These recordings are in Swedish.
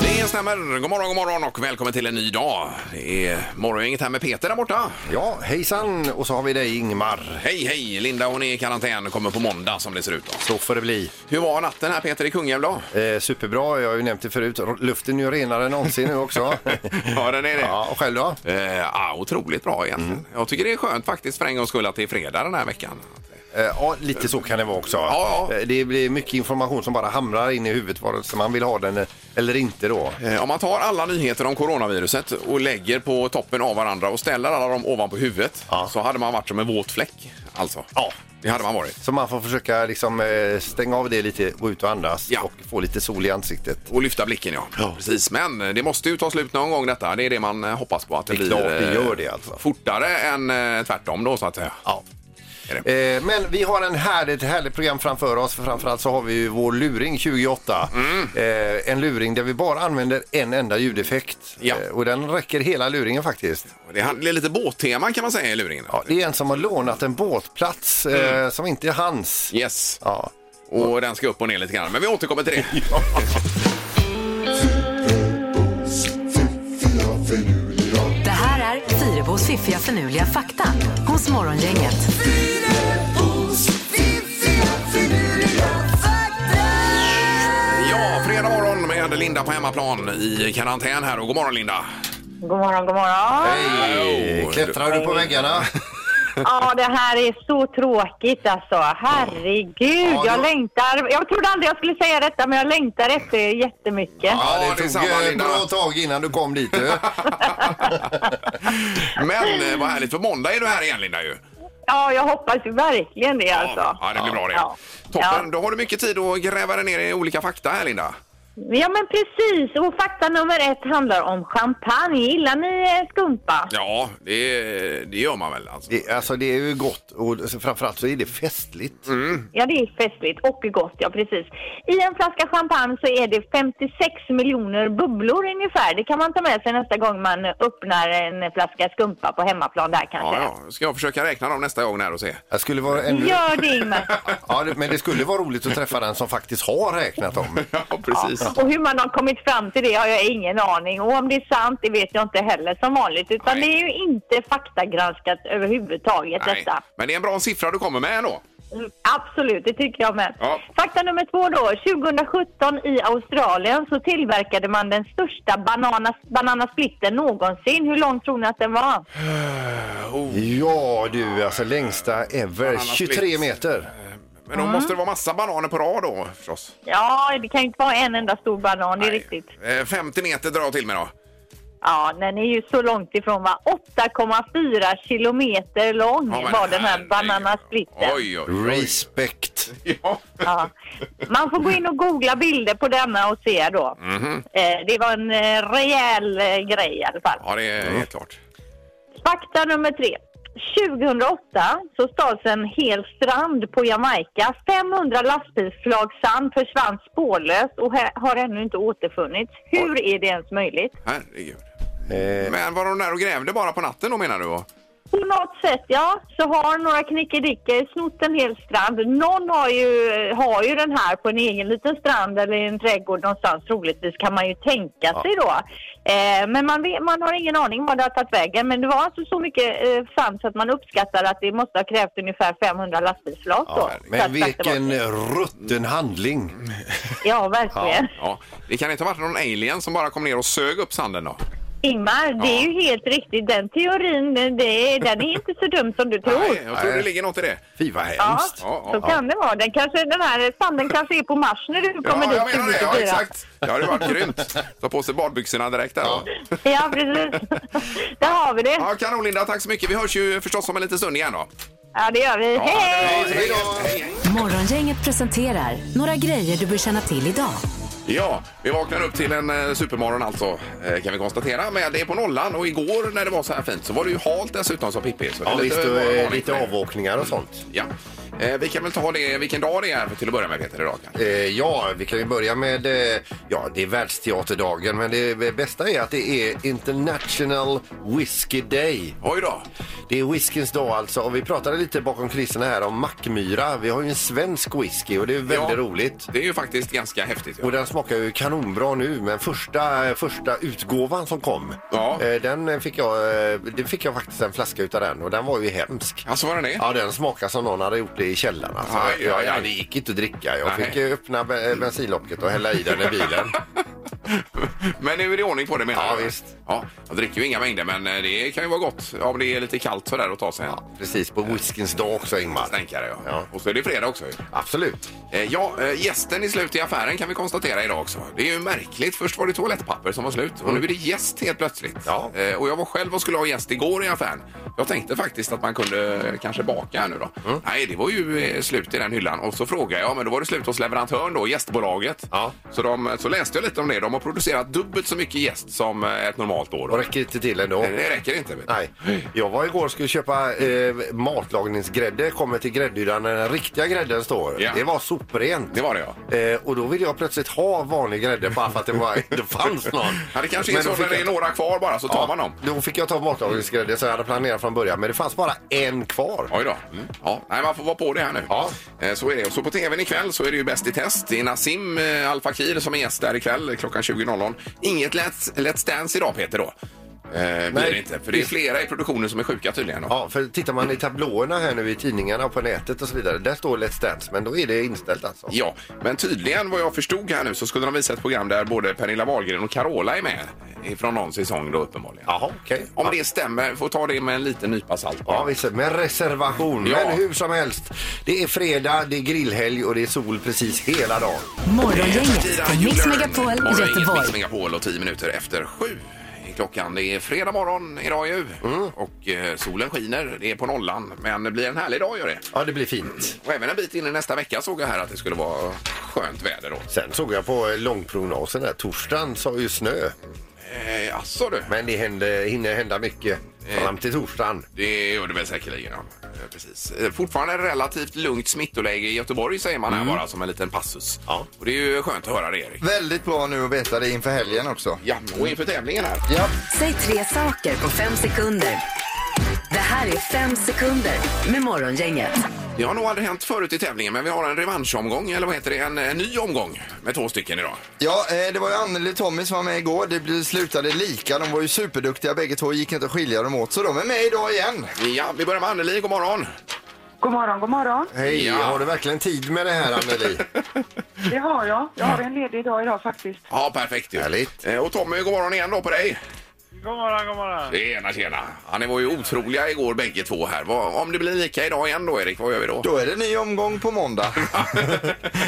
Det stämmer. God morgon, god morgon och välkommen till en ny dag. Det är morgongänget här med Peter där borta. Ja, hejsan! Och så har vi dig Ingmar. Hej, hej! Linda hon är i karantän kommer på måndag som det ser ut. Då. Så får det bli. Hur var natten här Peter i Kungälv då? Eh, superbra, jag har ju nämnt det förut. R- Luften är ju renare än någonsin nu också. Ja, den är det. Ja, Mm. och själv då? Eh, ja, otroligt bra egentligen. Jag tycker det är skönt faktiskt för en gångs skull att det är fredag den här veckan. Eh, ja, lite så kan det vara också. Ja, ja. Eh, det blir mycket information som bara hamrar in i huvudet vare sig man vill ha den eh, eller inte då. Eh, Om man tar alla nyheter om coronaviruset och lägger på toppen av varandra och ställer alla dem ovanpå huvudet Ja. så hade man varit som en våt fläck. Alltså. Ja. Det hade man varit. Så man får försöka liksom eh, stänga av det lite, gå ut och andas Ja. och få lite sol i ansiktet. Och lyfta blicken, ja. Precis. Men det måste ju ta slut någon gång detta. Det är det man eh, hoppas på. Att det, Det är blir klart det eh, gör det, alltså. fortare än eh, tvärtom då så att säga. Ja. Är det. Eh, Men vi har en härligt, härligt program framför oss. Framförallt så har vi ju vår luring 2008. Eh, En luring där vi bara använder en enda ljudeffekt. Ja. Eh, Och den räcker hela luringen faktiskt. Det är- Det är lite båtteman kan man säga i luringen. Ja, det är en som har lånat en båtplats eh, som inte är hans. Yes. Ja. Och den ska upp och ner lite grann. Men vi återkommer till det. Det här är Fyrebos fiffiga förnuliga fakta hos Morgongänget. Ja, fredag morgon med Linda på hemmaplan i karantän här. Och god morgon Linda. God morgon, god morgon. Eh. Hej! Klättrar du på väggarna? Ja, det här är så tråkigt alltså. Herregud, Ja, det jag var- längtar. Jag trodde aldrig jag skulle säga detta, men jag längtar efter er jättemycket. Ja, det är det tog samma, eh, Linda. bra tag innan du kom dit. du. Men eh, vad härligt, för måndag är du här igen Linda ju. Ja, jag hoppas ju verkligen det alltså. Ja, det blir bra det. Ja. Toppen, Ja. då har du mycket tid att gräva dig ner i olika fakta här Linda. Ja, men precis. Och fakta nummer ett handlar om champagne. Gillar ni eh, skumpa? Ja, det, det gör man väl alltså. Det, alltså det är ju gott och framförallt så är det festligt. Ja, det är festligt och gott, ja precis. I en flaska champagne så är det 56 miljoner bubblor ungefär. Det kan man ta med sig nästa gång man öppnar en flaska skumpa på hemmaplan där kanske. Ja, ja. Ska jag försöka räkna dem nästa gång här och se? Jag skulle vara ännu... Gör det Ingmar. Ja, det- men det skulle vara roligt att träffa den som faktiskt har räknat dem. Ja, precis. Och hur man har kommit fram till det har jag ingen aning. Och om det är sant, det vet jag inte heller som vanligt. Utan Nej. det är ju inte faktagranskat överhuvudtaget Nej. detta. Men det är en bra siffra du kommer med ändå. Mm, Absolut, det tycker jag med. Ja. Fakta nummer två då. 2017 i Australien så tillverkade man den största banana, bananasplitten någonsin. Hur lång tror ni att den var? Ja du, alltså längsta ever. Bananas 23 blitz. meter. Men då måste det vara massa bananer på rad då förstås. Ja, det kan ju inte vara en enda stor banan, det är Nej. riktigt. Eh, 50 meter drar jag till med då. Ja, den är ju så långt ifrån va? 8,4 kilometer lång Ja, men var den här herregud. bananasplitten. Oj, oj, oj. Respect. Ja. Ja. Man får gå in och googla bilder på denna och se då. Eh, Det var en eh, rejäl eh, grej i alla fall. ja, det är helt klart. Fakta nummer tre. 2008 så stals en hel strand på Jamaica. 500 lastbilsflak sand försvann spårlöst och hä- har ännu inte återfunnits. Hur är det ens möjligt? Herregud. Eh, Men var de där och grävde bara på natten då menar du? va? På något sätt, ja, så har några knickedickor snott en hel strand. Någon har ju, har ju den här på en egen liten strand eller i en trädgård någonstans troligtvis kan man ju tänka sig då. Eh, men man, vet, man har ingen aning var det har tagit vägen. Men det var alltså så mycket eh, sand så att man uppskattar att det måste ha krävt ungefär 500 lastbilsflak då. ja, Så att- men så att vilken det var- rutten handling. Ja, verkligen. Ja. Det kan inte ha varit någon alien som bara kom ner och sög upp sanden då? Ingmar, det är ju helt riktigt. Den teorin, det, är- den är inte så dum som du tror. Nej, jag tror Nej. det ligger något i det. Fy vad Ja, hemskt. Ja, ja, så kan det vara. Den, kanske, den här sanden kanske är på Mars när du kommer Ja, jag dit menar det. Ja, 2024. exakt. Det hade varit grymt. Ta på sig badbyxorna direkt där. Ja. Ja, precis. Där har vi det. Ja, kanon Linda, tack så mycket. Vi hörs ju förstås om en liten stund igen då. Ja, det gör vi. Ja, Hej! hej, hej, hej. Morgongänget presenterar några grejer du bör känna till idag. Ja, vi vaknar upp till en eh, supermorgon alltså eh, kan vi konstatera. Men det är på nollan och igår när det var så här fint så var det ju halt dessutom sa Pippi. Så det är Ja, visst, och, varnigt eh, med. lite avåkningar och sånt. Ja. Eh, Vi kan väl ta det, vilken dag det är till att börja med Peter idag. kanske? Eh, ja, vi kan ju börja med, eh, ja det är världsteaterdagen men det bästa är att det är International Whiskey Day. Oj då! Det är whiskyns dag alltså och vi pratade lite bakom kulisserna här om Mackmyra. Vi har ju en svensk whisky och det är väldigt Ja. roligt. Det är ju faktiskt ganska häftigt. Ja. Och den smakar ju kanonbra nu men första, första utgåvan som kom Ja. eh, den fick jag, eh, det fick jag faktiskt en flaska utav den och den var ju hemsk. Alltså var det det? Ja, den smakar som någon hade gjort det i källaren. Alltså, Aj, aj, ja, ja, aj. det gick inte att dricka. Jag Nej. fick eh, öppna be- bensinlocket och hälla i den i bilen. Men nu är det ordning på det menar Ja, du? visst. Ja, jag dricker ju inga mängder men eh, det kan ju vara gott om det är lite kallt sådär att ta sig en Precis, på whiskyns dag också Ingmar. stänkare. Ja. Ja. Och så är det fredag också ju. Absolut. Eh, Ja, eh, gästen är slut i affären kan vi konstatera idag också. Det är ju märkligt. Först var det toalettpapper som var slut och nu är det gäst helt plötsligt. Ja. Eh, Och jag var själv och skulle ha gäst igår i affären. Jag tänkte faktiskt att man kunde eh, kanske baka här nu då. Mm. Nej, det var ju eh, slut i den hyllan och så frågade jag, men då var det slut hos leverantören då, gästbolaget. Ja. Så, de, så läste jag lite om det. De har producerat dubbelt så mycket gäst som eh, ett normalt år. Och räcker inte till ändå. Eh, Det räcker inte. Vet du. Nej. Jag var igår och skulle köpa eh, matlagningsgrädde. Kommer till gräddhyllan där den riktiga grädden står. Ja. Det var soprent. Det var det ja. Eh, och då ville jag plötsligt ha vanlig grädde bara för att det, var, det fanns någon. ja det kanske är då så fick när det är jag- några kvar bara så tar man dem. Då fick jag ta matlagningsgrädde som jag hade planerat från början. Men det fanns bara en kvar. Oj då. Mm. Ja, nej, man får vara på det här nu. Ja. Eh, Så är det. Och så på tvn ikväll så är det ju Bäst i test. Det är Nassim eh, Al Fakir som är gäst där ikväll klockan 20.00. Inget Let's, let's Dance idag Peter då. Eh, blir Nej. det inte. För det är flera i produktionen som är sjuka tydligen. Ja. Ja, för tittar man i tablåerna här nu i tidningarna och på nätet och så vidare. Där står Let's Dance, men då är det inställt alltså. ja, men tydligen vad jag förstod här nu så skulle de visa ett program där både Pernilla Wahlgren och Carola är med. Från någon säsong då uppenbarligen. Jaha, okej. Om det stämmer, får ta det med en liten nypa salt. Ja, visst. Med reservation. Ja. Men hur som helst. Det är fredag, det är grillhelg och det är sol precis hela dagen. Tid Morgongänget att på Mix göra Megapol det. Morgongänget Göteborg. Mix Megapol och 10 minuter efter sju. är Klockan det är fredag morgon idag ju och eh, solen skiner. Det är på nollan, men det blir en härlig dag gör det. Ja, det blir fint. Och även en bit in i nästa vecka såg jag här att det skulle vara skönt väder då. Sen såg jag på eh, långprognosen där. Torsdagen sa ju snö. Eh, asså du, Men det händer, hinner hända mycket fram till torsdagen. det gör det väl säkerligen. Ja. Eh, Precis. Eh, Fortfarande relativt lugnt smittoläge i Göteborg säger man här bara som en liten passus. Ja. Och det är ju skönt att höra det Erik. Väldigt bra nu att veta det inför helgen också. Ja, och inför tävlingen här. Ja. Säg tre saker på fem sekunder. Det här är fem sekunder med Morgongänget. Det har nog aldrig hänt förut i tävlingen men vi har en revanschomgång eller vad heter det? En, en ny omgång med två stycken idag. Ja, eh, det var ju Anneli och Tommy som var med igår. Det blev- slutade lika. De var ju superduktiga bägge två. gick inte att skilja dem åt. Så de är med idag igen. Ja, vi börjar med Anneli. God morgon! God morgon, god morgon. Hej, Ja. har du verkligen tid med det här Anneli? Det har jag. Jag har en ledig dag idag faktiskt. Ja, perfekt ju. Härligt. Eh, Och Tommy, god morgon igen då på dig. God morgon, god morgon. Tjena, tjena. Ja, ni var ju otroliga igår bägge två här. Vad- Om det blir lika idag igen då, Erik, vad gör vi då? Då är det ny omgång på måndag.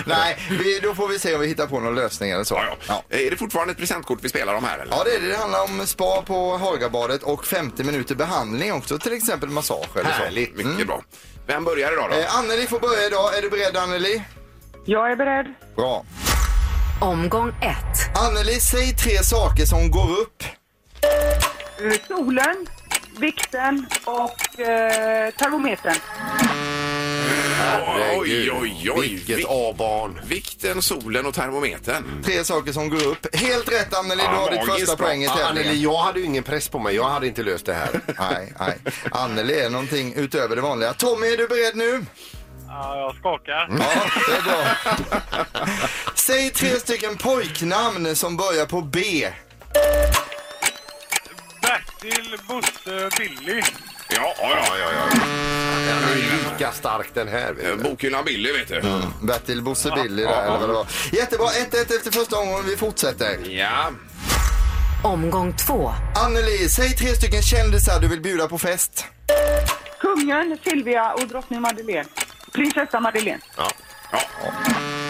Nej, vi, då får vi se om vi hittar på någon lösning eller så. Ja, ja. Eh, Är det fortfarande ett presentkort vi spelar om här eller? Ja, det är det. Det handlar om spa på Hagabadet och 50 minuter behandling också. Till exempel massage eller så. Mm. Härligt. Mycket bra. Vem börjar idag då? Eh, Anneli får börja idag. Är du beredd Anneli? Jag är beredd. Bra. Omgång ett. Anneli, säg tre saker som går upp. Eh, Solen, vikten och eh, termometern. oj, oj, oj. Vilket Vil- A-barn. Vikten, solen och termometern. Tre saker som går upp. Helt rätt Anneli, Ja, du har ditt magiskt första bra. poäng i Ja, Anneli, tävlingen. jag hade ju ingen press på mig. Jag hade inte löst det här. Nej, nej. Anneli är någonting utöver det vanliga. Tommy, är du beredd nu? Ja, jag skakar. Ja, det är bra. Säg tre stycken pojknamn som börjar på B. Bertil, Bosse, Billy. Ja, ja, ja. ja, ja. Den är ju lika stark den här. vet Eh, du. Bokhyllan Billy, vet du. Bertil Bosse Billy där, eller vad det var. Jättebra, 1-1 efter första omgången. Vi fortsätter. Ja. Omgång två. Anneli, säg tre stycken kändisar du vill bjuda på fest. Kungen, Silvia och drottning Madeleine. Prinsessa Madeleine. ja.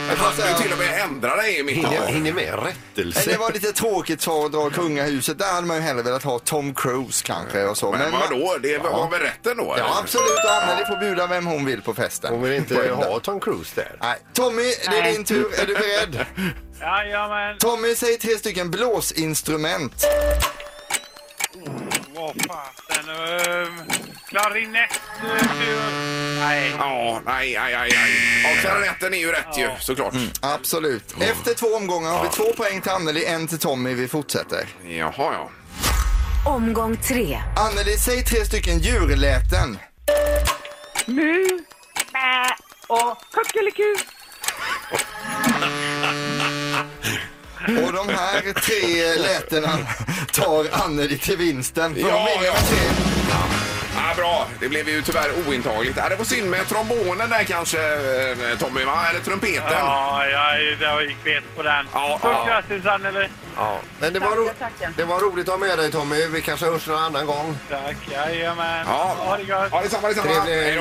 Jag får Han säga- du till och med ändra dig i mitt Hinner, av. hinner med Nej, det rättelse. var lite tråkigt så att dra kungahuset. Där hade man ju hellre velat ha Tom Cruise kanske. Och så. Men vadå, det var Ja. väl rätt ändå? Ja, eller? absolut. Anneli får bjuda vem hon vill på Hon festen. vill inte ha Tom Cruise där. Nej. Tommy, det är Nej. din tur. Är du beredd? Jajamän. Tommy, säg tre stycken blåsinstrument. Vad fasen. ehm, Klarinett. eh, till- Nej. Ja, nej, nej, nej. nej. Ja, klarinetten är ju rätt ju, såklart. Absolut. Efter två omgångar har vi två poäng till Anneli, en till Tommy. Vi fortsätter. Jaha, ja. Omgång tre. Anneli, säg tre stycken djurläten. Mu, bä och kuckeliku. Och de här tre lätena tar Anneli till vinsten. För Ja, de vinner ja. med tre. Ja, bra, det blev ju tyvärr ointagligt. Ja, det var synd med trombonen där kanske, eh, Tommy, va? Eller trumpeten. Ja, jag, jag gick bet på den. Ja, Stort ja. grattis, Anneli. Ja. Men det var, ro- det var roligt att ha med dig Tommy. Vi kanske hörs någon annan gång. Tack, jajamän. Ja, Ha det gött. Ja, detsamma, detsamma. Trevlig Hej helg.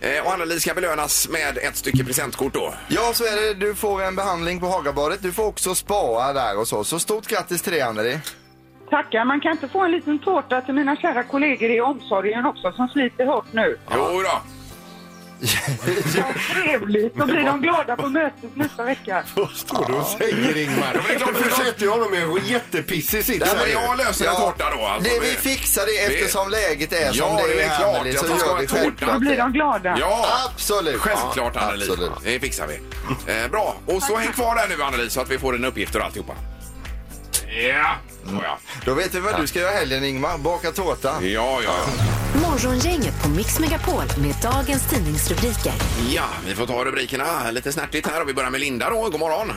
då. Eh, Och Anneli ska belönas med ett stycke presentkort då. Ja, så är det. Du får en behandling på Hagabadet. Du får också spa där och så. Så stort grattis till dig, Anneli. Tackar, man kan inte få en liten tårta till mina kära kollegor i omsorgen också som sliter hårt nu. Jo då. Vad trevligt, då blir de glada på mötet nästa vecka. Vad står du och säger Ingmar? Ja, men det är klart Du för dem. försätter ju honom i en jättepissig sits. Ja, men här ju. jag löser en tårta då. Alltså, det vi fixar det eftersom läget är Ja, som det är, det är klart. Anneli, Jag så förstår gör vi en tårta. Då självklart blir de det. glada. Ja, Absolut. självklart Ja, Anneli. absolut. Det fixar vi. Eh, bra, och så häng kvar där nu Anneli så att vi får dina uppgifter och alltihopa. Ja, så ja. Då vet vi vad du ska göra i helgen, Ingmar. Baka tårta. Ja, ja, ja. Morgongänget på Mix Megapol med dagens tidningsrubriker. Ja, vi får ta rubrikerna lite snärtigt här och vi börjar med Linda då. God morgon.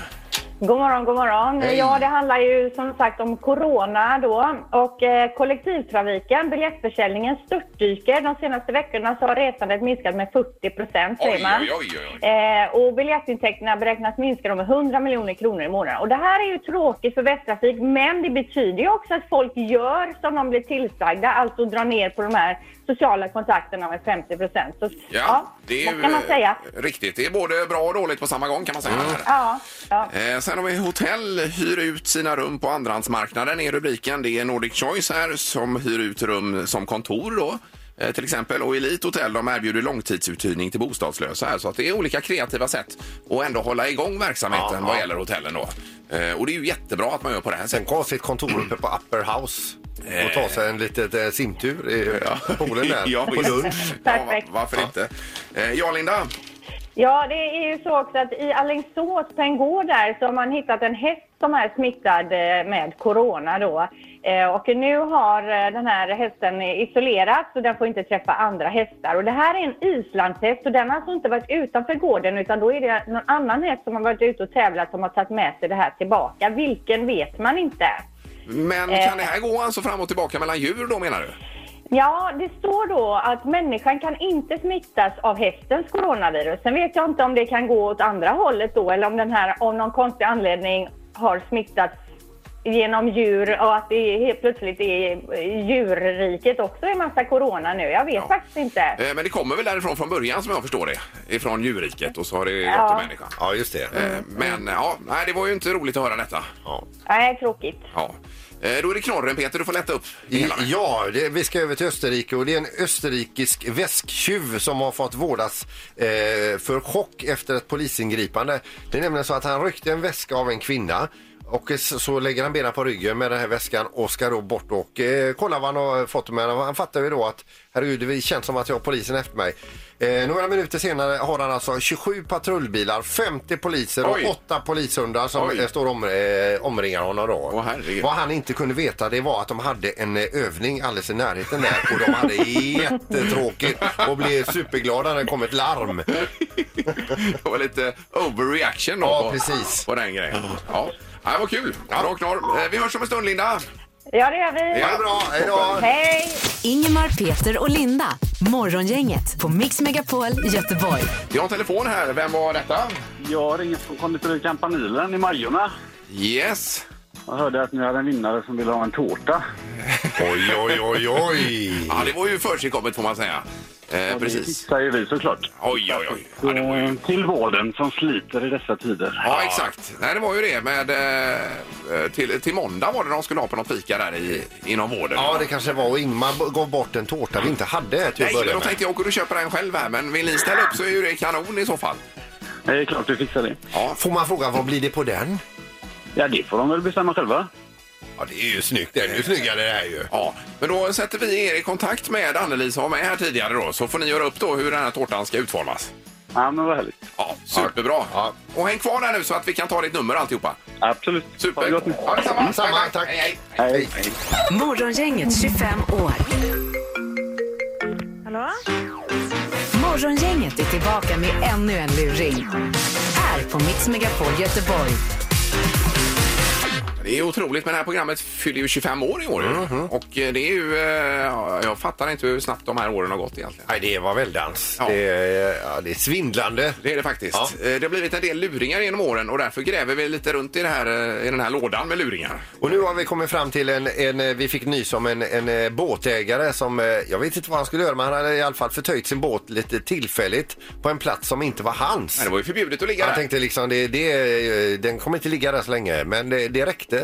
God morgon, god morgon. Hej. Ja, det handlar ju som sagt om corona då och eh, kollektivtrafiken. Biljettförsäljningen störtdyker. De senaste veckorna så har resandet minskat med 40 procent Oj, säger man. oj, oj, oj. Eh, och biljettintäkterna beräknas minska med 100 miljoner kronor i månaden. Och det här är ju tråkigt för Västtrafik, men det betyder ju också att folk gör som de blir tillsagda, alltså drar ner på de här sociala kontakterna med 50 procent. Så, Ja, det är vad kan man säga? riktigt. Det är både bra och dåligt på samma gång kan man säga. Mm. Ja, ja. Eh, sen har vi hotell hyr ut sina rum på andrahandsmarknaden är rubriken. Det är Nordic Choice här som hyr ut rum som kontor då. eh, Till exempel och Elite Hotel de erbjuder långtidsuthyrning till bostadslösa. Här, så att det är olika kreativa sätt att ändå hålla igång verksamheten Ja, vad ja. gäller hotellen. Då. Eh, Och det är ju jättebra att man gör på det här Sen sättet. kan sitt kontor uppe på Upper House och ta sig en litet eh, simtur i poolen där ja, på visst. lunch. Ja, va- Perfekt. varför inte? Eh, Ja, Linda. Ja, det är ju så också att i Alingsås, på en gård där, så har man hittat en häst som är smittad eh, med corona då. Eh, Och nu har eh, den här hästen isolerats och den får inte träffa andra hästar. Och det här är en islandshäst och den har alltså inte varit utanför gården utan då är det någon annan häst som har varit ute och tävlat som har tagit med sig det här tillbaka. Vilken vet man inte. Men Eh. kan det här gå alltså fram och tillbaka mellan djur då menar du? Ja, det står då att människan kan inte smittas av hästens coronavirus. Sen vet jag inte om det kan gå åt andra hållet då eller om den här om någon konstig anledning har smittats genom djur och att det helt plötsligt är djurriket också är massa corona nu. Jag vet Ja. faktiskt inte. Eh, Men det kommer väl därifrån från början som jag förstår det. Ifrån djurriket och så har det gått Ja. till människan. Ja, just det. Eh, Men ja, nej, det var ju inte roligt att höra detta. Ja. Nej, tråkigt. Ja. Eh, Då är det knorren Peter, du får lätta upp. det hela. Ja, det, vi ska över till Österrike och det är en österrikisk väsktjuv som har fått vårdas eh, för chock efter ett polisingripande. Det är nämligen så att han ryckte en väska av en kvinna och s- så lägger han benen på ryggen med den här väskan och ska då bort och eh, kolla vad han har fått med den. Han fattar ju då att herregud, det känns som att jag har polisen efter mig. Eh, några minuter senare har han alltså 27 patrullbilar, 50 poliser och Oj. 8 polishundar som Oj. eh, står om, eh, omringar honom då. Åh, herregud. Vad han inte kunde veta det var att de hade en eh, övning alldeles i närheten där och de hade jättetråkigt och blev superglada när det kom ett larm. Det var lite overreaction då Ja, på, precis. på den grejen. Ja. Ja, vad kul! Bra knorr. Eh, Vi hörs om en stund, Linda. Ja, det gör vi. Ja. Ha det bra, hej då! Hej! Ingemar, Peter och Linda. Morgongänget på Mix Megapol Göteborg. Jag har en telefon här. Vem var detta? Jag ringer från konditori Campanilen i Majorna. Yes. Jag hörde att ni hade en vinnare som ville ha en tårta. Oj, oj, oj, oj! Ja, det var ju försigkommet får man säga. Eh, Och Det precis. fixar ju vi såklart. Oj, oj, oj. Ja, det var ju... Eh, Till vården som sliter i dessa tider. Ja, exakt. Nej, det var ju det med... Eh, till, till måndag var det de skulle ha på någon fika där i, inom vården. Ja, det kanske var. Och Ingmar b- gav bort en tårta vi inte hade till att Nej, börja då med. tänkte jag åker du köper den själv här, men vill ni ställa upp så är ju det kanon i så fall. Det är klart vi fixar det. Ja, Får man fråga vad blir det på den? Ja, det får de väl bestämma själva. Ja, det är ju snyggt. Det är ju snyggare det här ju. ja. Men då sätter vi er i kontakt med Anneli som var med här tidigare då, så får ni göra upp då hur den här tårtan ska utformas. Ja, men vad härligt. Ja, superbra. Ja. Och häng kvar där nu så att vi kan ta ditt nummer och alltihopa. Absolut. Super. Ha det gott nu. Ja, detsamma. Samma, Bye, bye. tack. Hej, hej. Hej. Morgongänget 25 år. Hallå? Morgongänget är tillbaka med ännu en luring. Här på Mix Megapol Göteborg. Det är otroligt, men det här programmet fyller ju 25 år i år. ju. Mhm. Och eh, det är ju... eh, ja, Jag fattar inte hur snabbt de här åren har gått egentligen. Nej, det var väldans. Ja. Det, är- ja, det är svindlande. Det är det faktiskt. Ja. Eh, Det har blivit en del luringar genom åren och därför gräver vi lite runt i, det här, eh, i den här lådan med luringar. Och nu har vi kommit fram till en, en eh, vi fick nys om en, en eh, båtägare som, eh, jag vet inte vad han skulle göra, men han hade i alla fall förtöjt sin båt lite tillfälligt på en plats som inte var hans. Nej, det var ju förbjudet att ligga Han där. tänkte liksom, det, det, eh, den kommer inte ligga där så länge, men det, det räckte.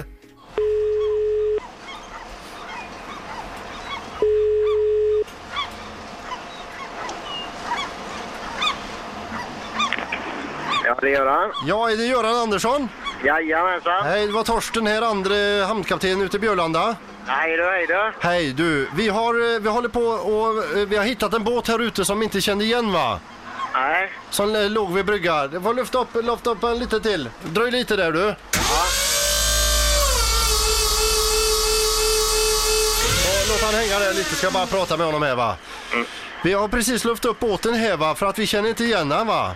Ja, det gör han. Ja, är det Göran Andersson? Jajamensan. Hej, det var Torsten här, andra hamnkapten ute i Björlanda. Hej då, hej då. Hej du, vi, har, eh, vi håller på och eh, vi har hittat en båt här ute som vi inte kände igen va? Nej. Som eh, låg vid bryggan. Det var lyft upp, lyft upp en lite till. Dröj lite där du. Eh, Låt han hänga där lite, ska bara prata med honom här va. Vi har precis lyft upp båten här va, för att vi känner inte igen den va.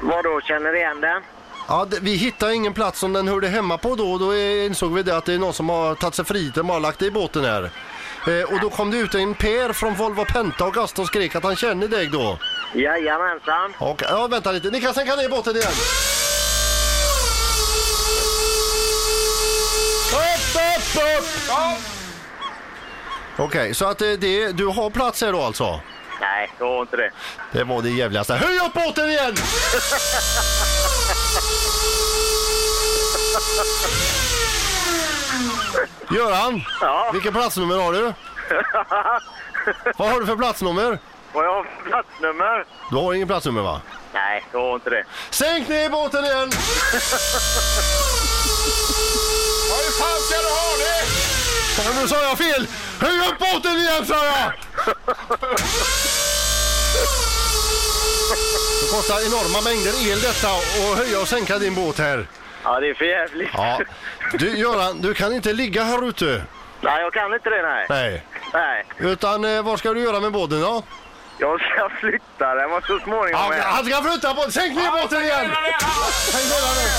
Vadå, känner du igen den? Ja, det, vi hittade ingen plats som den hörde hemma på då och då eh, insåg vi det att det är någon som har tagit sig frihet och bara lagt det i båten här. Eh, och då kom det ut en Per från Volvo Penta och Gaston och skrek att han känner dig då. Jajamensan. Och, ja, vänta lite. Ni kan sänka ner båten igen. Upp, upp, upp! Okej, så att eh, det, du har plats här då alltså? Nej, det var inte det. Det var det jävligaste. Höj upp båten igen! Göran, Ja. vilken platsnummer har du? Vad har du för platsnummer? Vad jag har för platsnummer? Du har ingen platsnummer va? Nej, det var inte det. Sänk ner båten igen! Ja, hur fan ska du ha det? Ja, nu sa jag fel! Höj upp båten igen sa jag! Det kostar enorma mängder el detta och höja och sänka din båt här. Ja, det är för jävligt. Ja. Du Göran, du kan inte ligga här ute. Nej, jag kan inte det, nej. Nej. Nej. Utan eh, vad ska du göra med båten då? Jag ska flytta den var så småningom. Ja, Ah, med. han ska flytta båten! Sänk ner båten igen! Sänk ner den.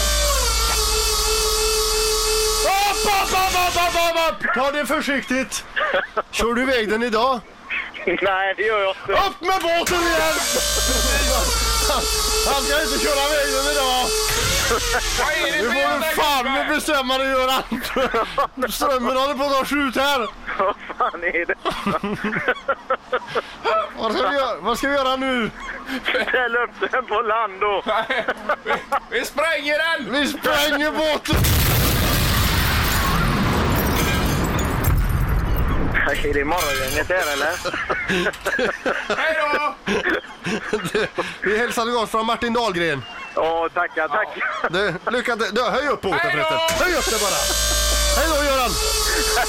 Upp, upp, upp, upp, upp, upp, upp! Ta det försiktigt. Kör du iväg den idag? Nej, det gör jag inte. Upp med båten igen! Han ska inte köra vägen idag! Nu får du fan med bestämma dig Göran! Strömmen håller på att ta slut här! Vad fan är det? Vad ska vi göra, Vad ska vi göra nu? Ställ upp den på land då. Vi spränger den! Vi spränger båten! Är det morgongänget här eller? Hej då! Vi hälsar gott från Martin Dahlgren. Ja, tackar, tackar. Du, lycka till. Du, höj upp båten Hej då! förresten. Höj upp det bara. Hej då Göran! Ja,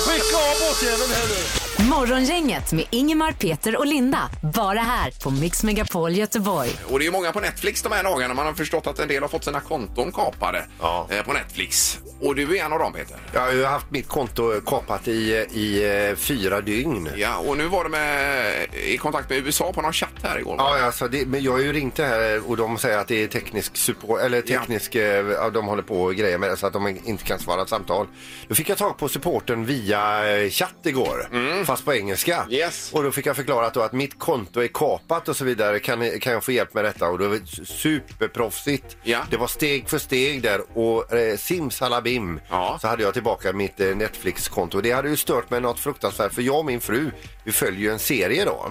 skicka av båtjäveln här nu. Morgongänget med Ingemar, Peter och Linda. Bara här på Mix Megapol Göteborg. Och det är ju många på Netflix de här dagarna. Man har förstått att en del har fått sina konton kapade Ja. eh, på Netflix. Och du är en av dem, Peter. Jag har ju haft mitt konto kapat i, i eh, fyra dygn. Ja, och nu var de med, i kontakt med USA på någon chatt här igår. va? Ja, alltså det, men jag har ju ringt det här och de säger att det är teknisk support, eller teknisk, eh, ja. de håller på och grejer med det så att de inte kan svara ett samtal. Då fick jag tag på supporten via eh, chatt igår, fast fast på engelska. Och då fick jag förklarat då att mitt konto är kapat och så vidare. Kan, ni- kan jag få hjälp med detta? Och då var det superproffsigt. Det var steg för steg där och eh, simsalabim så hade jag tillbaka mitt eh, Netflix-konto. Det hade ju stört mig något fruktansvärt för jag och min fru, vi följer ju en serie då.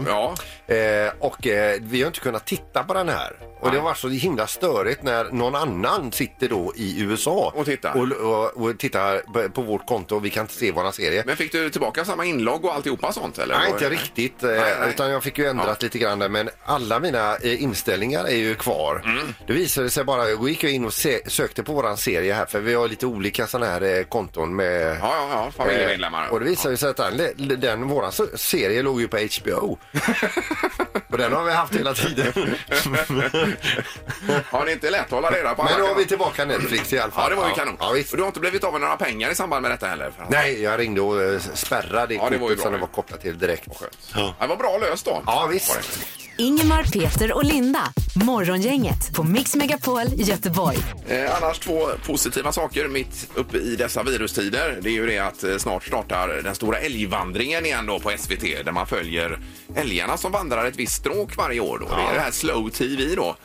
Eh, och eh, vi har inte kunnat titta på den här. Och det var så himla störigt när någon annan sitter då i USA och tittar, och, och, tittar på- på vårt konto och vi kan inte se våran serie. Men fick du tillbaka samma inlogg och alltihopa sånt eller? Nej, inte riktigt. eh, Utan jag fick ju ändrat lite grann där. Men alla mina eh, inställningar är ju kvar. Det visade sig bara, jag gick ju in och se, sökte på våran serie här. För vi har lite olika sådana här eh, konton med... Ja, ja, ja, familjemedlemmar. Eh, Och det visade sig att den, den våran so- serie låg ju på HBO. och den har vi haft hela tiden. Ja, det är inte lätt att hålla reda på Men alla nu har kanaler. vi tillbaka Netflix i alla fall. Ja, det var ju kanon. Ja, visst. Och du har inte blivit av med några pengar i samband med detta heller? Nej, jag ringde och eh, spärrade Ja, det var ju kortet bra som det det. var kopplat till direkt. Ja. Det var bra löst då. Ja, visst. Ingemar, Peter och Linda. Morgongänget på Mix Megapol Göteborg. Eh, annars två positiva saker mitt uppe i dessa virustider. Det är ju det att eh, snart startar den stora älgvandringen igen då på SVT där man följer älgarna som vandrar ett visst stråk varje år. Då. Det är det här Slow TV då.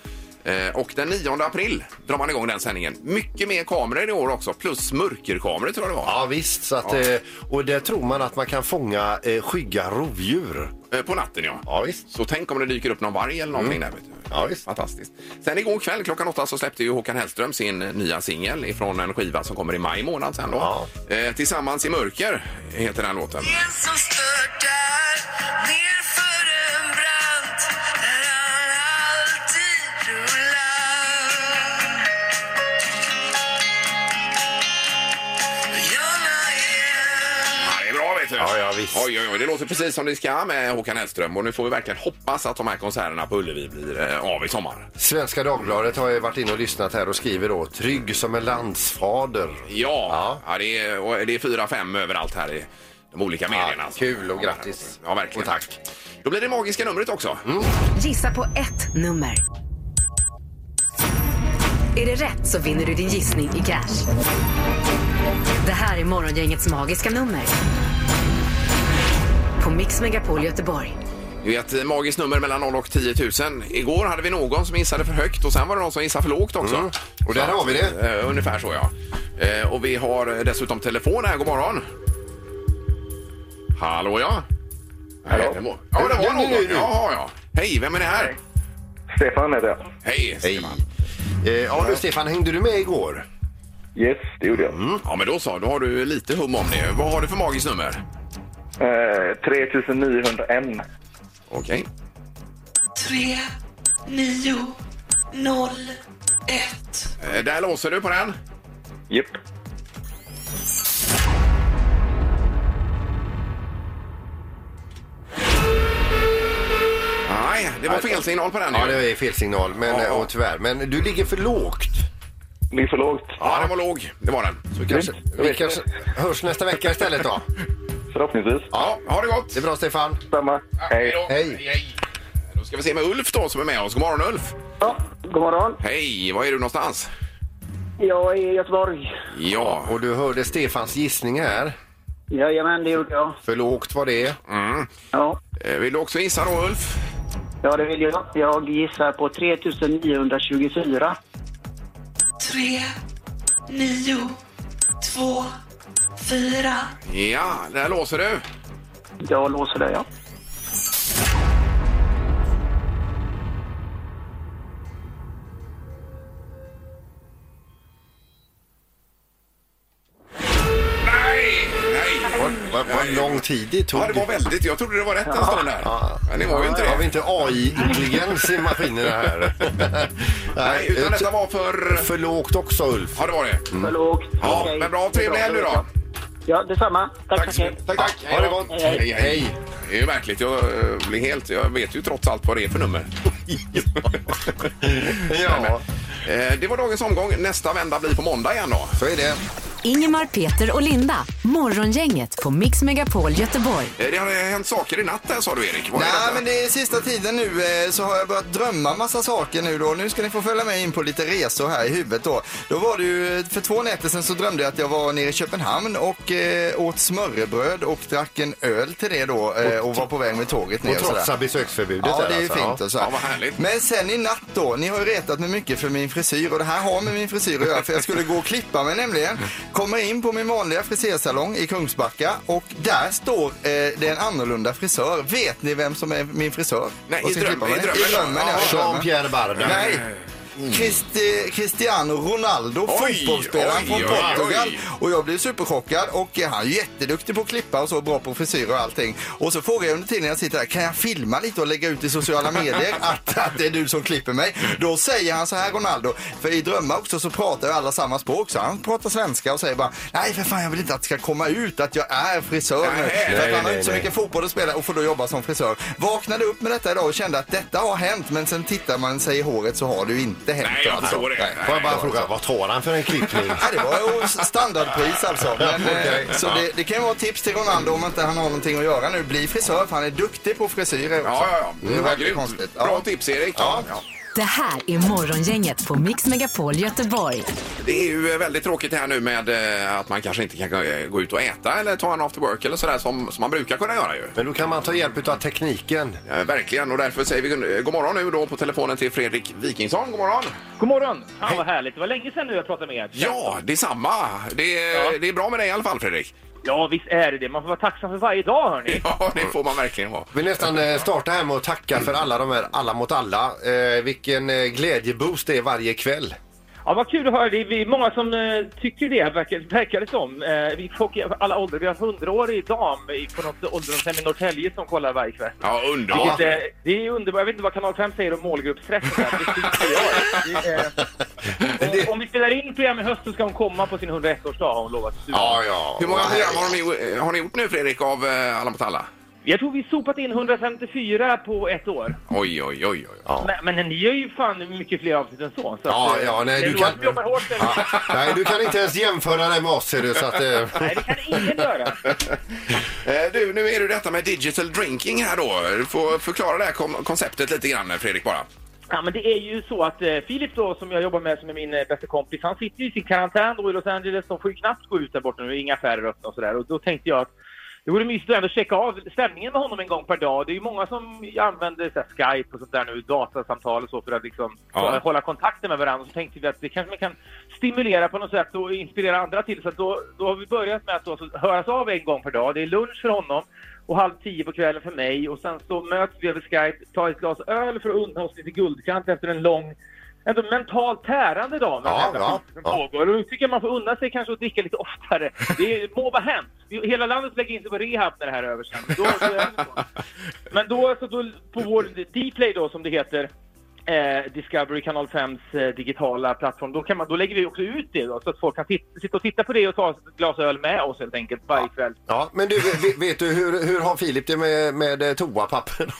Eh, och den 9 april drar man igång den sändningen. Mycket mer kameror i år också, plus mörkerkameror tror jag det var. Ja visst, så att, eh, och där tror man att man kan fånga eh, skygga rovdjur. Eh, På natten ja. ja visst. Så tänk om det dyker upp någon varg eller någonting där. Vet du. Ja, visst. Fantastiskt. Sen igår kväll klockan åtta så släppte ju Håkan Hellström sin nya singel ifrån en skiva som kommer i maj månad sen då. Eh, Tillsammans i mörker heter den låten. En som störtar nerför en brant där han alltid rullar. Ja, det är bra vet du. Ja, ja, visst. Oj, oj, oj. Det låter precis som det ska med Håkan Hellström och nu får vi verkligen hoppas att de här konserterna på Ullevi blir eh, av i sommar. Svenska Dagbladet har ju varit inne och lyssnat här och skriver då trygg som en landsfader. Ja, ja. det, är, och det är fyra, fem överallt här i de olika medierna. kul och grattis. Ja, verkligen. Och tack. Då blir det magiska numret också. Gissa på ett nummer. Är det rätt så vinner du din gissning i cash. Det här är Morgongängets magiska nummer. På Mix Megapol Göteborg. Det är ett magiskt nummer mellan 0 och 10 000. Igår hade vi någon som gissade för högt och sen var det någon som gissade för lågt också. Och Mm. där har vi det. Eh, ungefär så ja. Eh, och vi har eh, dessutom telefon här. God morgon. Hallå ja. Hallå. Det var, ja, det var Ja, nu, någon. nu, nu. Jaha, ja. Hej, vem är det här? Stefan heter jag. Hej, Stefan. Eh, ja du Stefan, hängde du med igår? Yes, det gjorde jag. Ja, men då så. Då har du lite hum om det. Vad har du för magiskt nummer? Eh, 3901. Okej. Tre, nio, noll, ett. Eh, där låser du på den. Japp. Nej, det var fel signal på den. Ja, ju. det är fel signal, men, Ja. och tyvärr. Men du ligger för lågt. Ligger för lågt? Ja, den var låg. Det var den. Så kanske, Grymt. Jag vi vet kanske hörs nästa vecka istället då. Förhoppningsvis. Ja, ha det gott. Det är bra Stefan. Samma. Hej. då. Hej. hej. Då ska vi se med Ulf då som är med oss. God morgon Ulf. Ja, god morgon. Hej, var är du någonstans? Jag är i Göteborg. Ja. Och du hörde Stefans gissning här. Jajamän, det gjorde jag. För lågt var det. Mm. Ja. Vill du också gissa då Ulf? Ja, det vill jag. Jag gissar på 3924. Tre, nio, två, fyra. Ja, där låser du. Jag låser det, ja. Vad vad lång tid det tog. Ja, det var väldigt. Jag trodde det var rätt en stund där. Men det var ju inte Har vi det. inte AI-intelligens i maskinerna här? Nej, utan detta var för... För lågt också Ulf. Ja, det var det. Mm. För lågt. Mm. Ja, Okej. men bra. Trevlig helg nu då. Ja, detsamma. Tack, tack. tack, Tack, tack. Ha det gott. Hej, hej. Det är ju märkligt. Jag eh, blir helt... Jag vet ju trots allt vad det är för nummer. eh, ja. Det var dagens omgång. Nästa vända blir på måndag igen då. Så är det. Ingemar, Peter och Linda. Morgongänget på Mix Megapol Göteborg. Eh, Det har hänt saker i natt där sa du Erik. Vad är Nej, detta? men det är sista tiden nu eh, så har jag börjat drömma massa saker nu då. Nu ska ni få följa med in på lite resor här i huvudet då. Då var det ju, eh, för två nätter sedan så drömde jag att jag var nere i Köpenhamn och eh, åt smörrebröd och drack en öl till det då eh, och var på väg med tåget ner Och sådär. trotsa besöksförbudet Ja, där det är ju alltså, fint ja. och så här. Ja, vad härligt. Men sen i natt då, ni har ju retat mig mycket för min frisyr och det här har med min frisyr att göra för jag skulle gå och klippa mig nämligen. Kommer in på min vanliga frisersalong i Kungsbacka och där står eh, det är en annorlunda frisör. Vet ni vem som är min frisör? Nej, Och i ska dröm- klippa i mig? drömmen, I drömmen, ja. ja. i drömmen. Jean-Pierre Barda. Nej. Christi, Cristiano Ronaldo, fotbollsspelaren oj, från oj, Portugal. oj. Och jag blev superchockad och eh, han är jätteduktig på att klippa och så bra på frisyr och allting. Och så frågar jag under tiden jag sitter där, kan jag filma lite och lägga ut i sociala medier att, att det är du som klipper mig? Då säger han så här Ronaldo, för i drömmar också så pratar ju alla samma språk så han pratar svenska och säger bara, nej för fan jag vill inte att det ska komma ut att jag är frisör nu. Nej, för att nej, han har nej, inte så nej. mycket fotboll att spela och får då jobba som frisör. Vaknade upp med detta idag och kände att detta har hänt men sen tittar man sig i håret så har det ju inte hänt. alltså. Nej, jag förstår det. Nej, Får jag bara fråga, vad tar han för en Mm. klippning? Ja, det var ju standardpris alltså. Men, Okej. eh, så det, det kan ju vara ett tips till Ronaldo om inte han har någonting att göra nu. Bli frisör för han är duktig på frisyrer också. Ja, ja, ja. Det Det var var väldigt grymt. konstigt. Ja. Bra tips Erik. Ja. Det här är Morgongänget på Mix Megapol Göteborg. Det är ju eh, väldigt tråkigt det här nu med eh, att man kanske inte kan gå- eh, gå ut och äta eller ta en after work eller sådär som, som man brukar kunna göra ju. Men då kan man ta hjälp av tekniken. Ja, verkligen och därför säger vi gun- eh, god morgon nu då på telefonen till Fredrik Wikingsson. God morgon! God morgon! Fan vad härligt. Det var länge sedan nu jag pratade med er. Ja, detsamma! Det, är- det är bra med dig i alla fall Fredrik. Ja, visst är det det. Man får vara tacksam för varje dag, hörni. Ja, det får man verkligen vara. Vi nästan eh, starta här med att tacka för alla de här Alla mot alla. Eh, vilken eh, glädjeboost det är varje kväll. Ja, vad kul att höra. Det är vi- många som eh, tycker det, verkar, verkar det som. Eh, vi folk i alla åldrar. Vi har en hundraårig dam i- på något ålderdomshem i Norrtälje som kollar varje kväll. Ja, Vilket, underbart! eh, det är underbart. Jag vet inte vad Kanal 5 säger om målgruppsträffen. där. Det skiter jag i. Det är, eh, om- Om vi spelar in program i höst så ska hon komma på sin 101-årsdag har hon lovat. Ja, ja. Hur många program har ni, eh, har ni gjort nu Fredrik av eh, Alla mot alla? Jag tror vi sopat in 154 på ett år. Oj, oj, oj. oj. Men, men ni gör ju fan mycket fler avsnitt än så. så Ja, att, eh, ja, nej, det är du nog kan- att vi jobbar hårt. Nej, du kan inte ens jämföra dig med oss ser du. Så att, eh, Nej, det kan ingen göra. Eh, Du, nu är det detta med digital drinking här då. Du får förklara det här kom- konceptet lite grann Fredrik bara. Ja, men det är ju så att eh, Filip då, som jag jobbar med, som är min eh, bästa kompis, han sitter ju i sin karantän då i Los Angeles. De får ju knappt gå ut där borta nu, inga affärer öppna och sådär. Och då tänkte jag att det vore mysigt att ändå checka av stämningen med honom en gång per dag. Det är ju många som använder så här, Skype och sånt där nu, datasamtal och så för att liksom Ja. eh, hålla kontakten med varandra. Så tänkte vi att det kanske man kan stimulera på något sätt och inspirera andra till. Så att då, då har vi börjat med att då, så höras av en gång per dag. Det är lunch för honom och halv tio på kvällen för mig. Och sen så möts vi över Skype, tar ett glas öl för att unna oss lite guldkant efter en lång, ändå mentalt tärande dag med Ja, den här ja, skiten som pågår. Och nu tycker jag man får unna sig kanske att dricka lite oftare. Det är- må vara hänt. Hela landet lägger in sig på rehab när det här är över sen. Men då, då är det så. Men då, så då på vår Dplay då som det heter, eh, Discovery Kanal 5s eh, digitala plattform, då, kan man, då lägger vi också ut det då, så att folk kan titta, sitta och titta på det och ta ett glas öl med oss helt enkelt varje kväll. ja, men du, vet, vet du hur, hur har Filip det med, med eh, toapapper?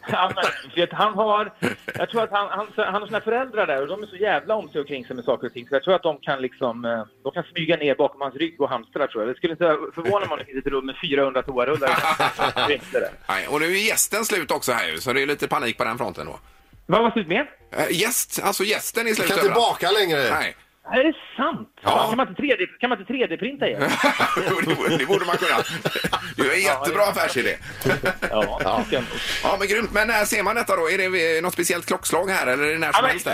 Han, vet, han har, jag tror att han, han, han har sina föräldrar där och de är så jävla om sig och kring sig med saker och ting så jag tror att de kan liksom, eh, de kan smyga ner bakom hans rygg och hamstra tror jag. Det skulle inte förvåna mig om det finns ett rum med 400 toarullar. Efter det. Nej, och nu är gästen slut också här ju, så det är lite panik på den fronten då. Vad var slut med? Gäst, alltså gästen är slut Kan inte överallt. baka längre. Nej, Är det sant? Fan, Kan, man inte 3D, kan man inte 3D-printa igen? det borde- det borde man kunna. Det är en jättebra affärsidé. Ja, ja. ja, men grymt. Men när ser man detta då? Är det vid något speciellt klockslag här eller är det när Ja, som men- helst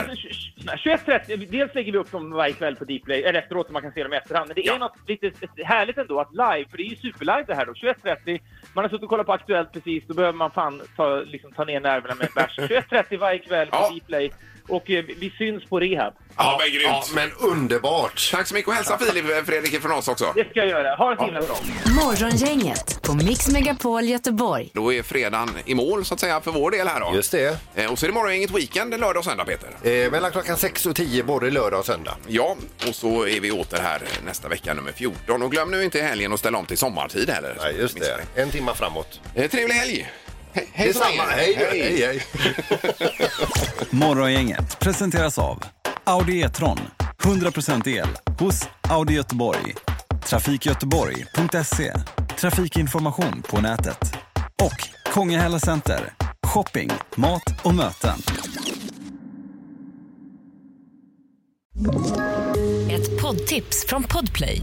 där? 21.30, dels lägger vi upp dem varje kväll på Dplay, eller efteråt så man kan se dem i efterhand. Men det är något lite härligt ändå att live, för det är ju superlive det här då. 21.30, man har suttit och kollat på Aktuellt precis, då behöver man fan ta, liksom, ta ner nerverna med en bärs. 21.30 varje kväll på Dplay och eh, vi syns på rehab. Ja, men grymt. Ja, men underbart. Tack så mycket och hälsa Filip, eh, Fredrik, från oss också. Det ska jag göra. Ha det så himla bra. Morgongänget på Mix Megapol Göteborg. Då är fredagen i mål så att säga för vår del här då. Just det. Eh, Och så är det morgon inget weekend lördag och söndag Peter. Eh, mellan klockan 6 och 10 både lördag och söndag. Ja, och så är vi åter här nästa vecka nummer 14. Och glöm nu inte i helgen att ställa om till sommartid heller. Nej, just det. En timma framåt. Eh, Trevlig helg! He- hej så länge. Detsamma. Hej, du. hej, hej. Morgongänget presenteras av Audi E-tron. 100% el hos Audi Göteborg. Trafikgöteborg.se. Trafikinformation på nätet. Och Kongahälla Center. Shopping, mat och möten. Ett poddtips från Podplay.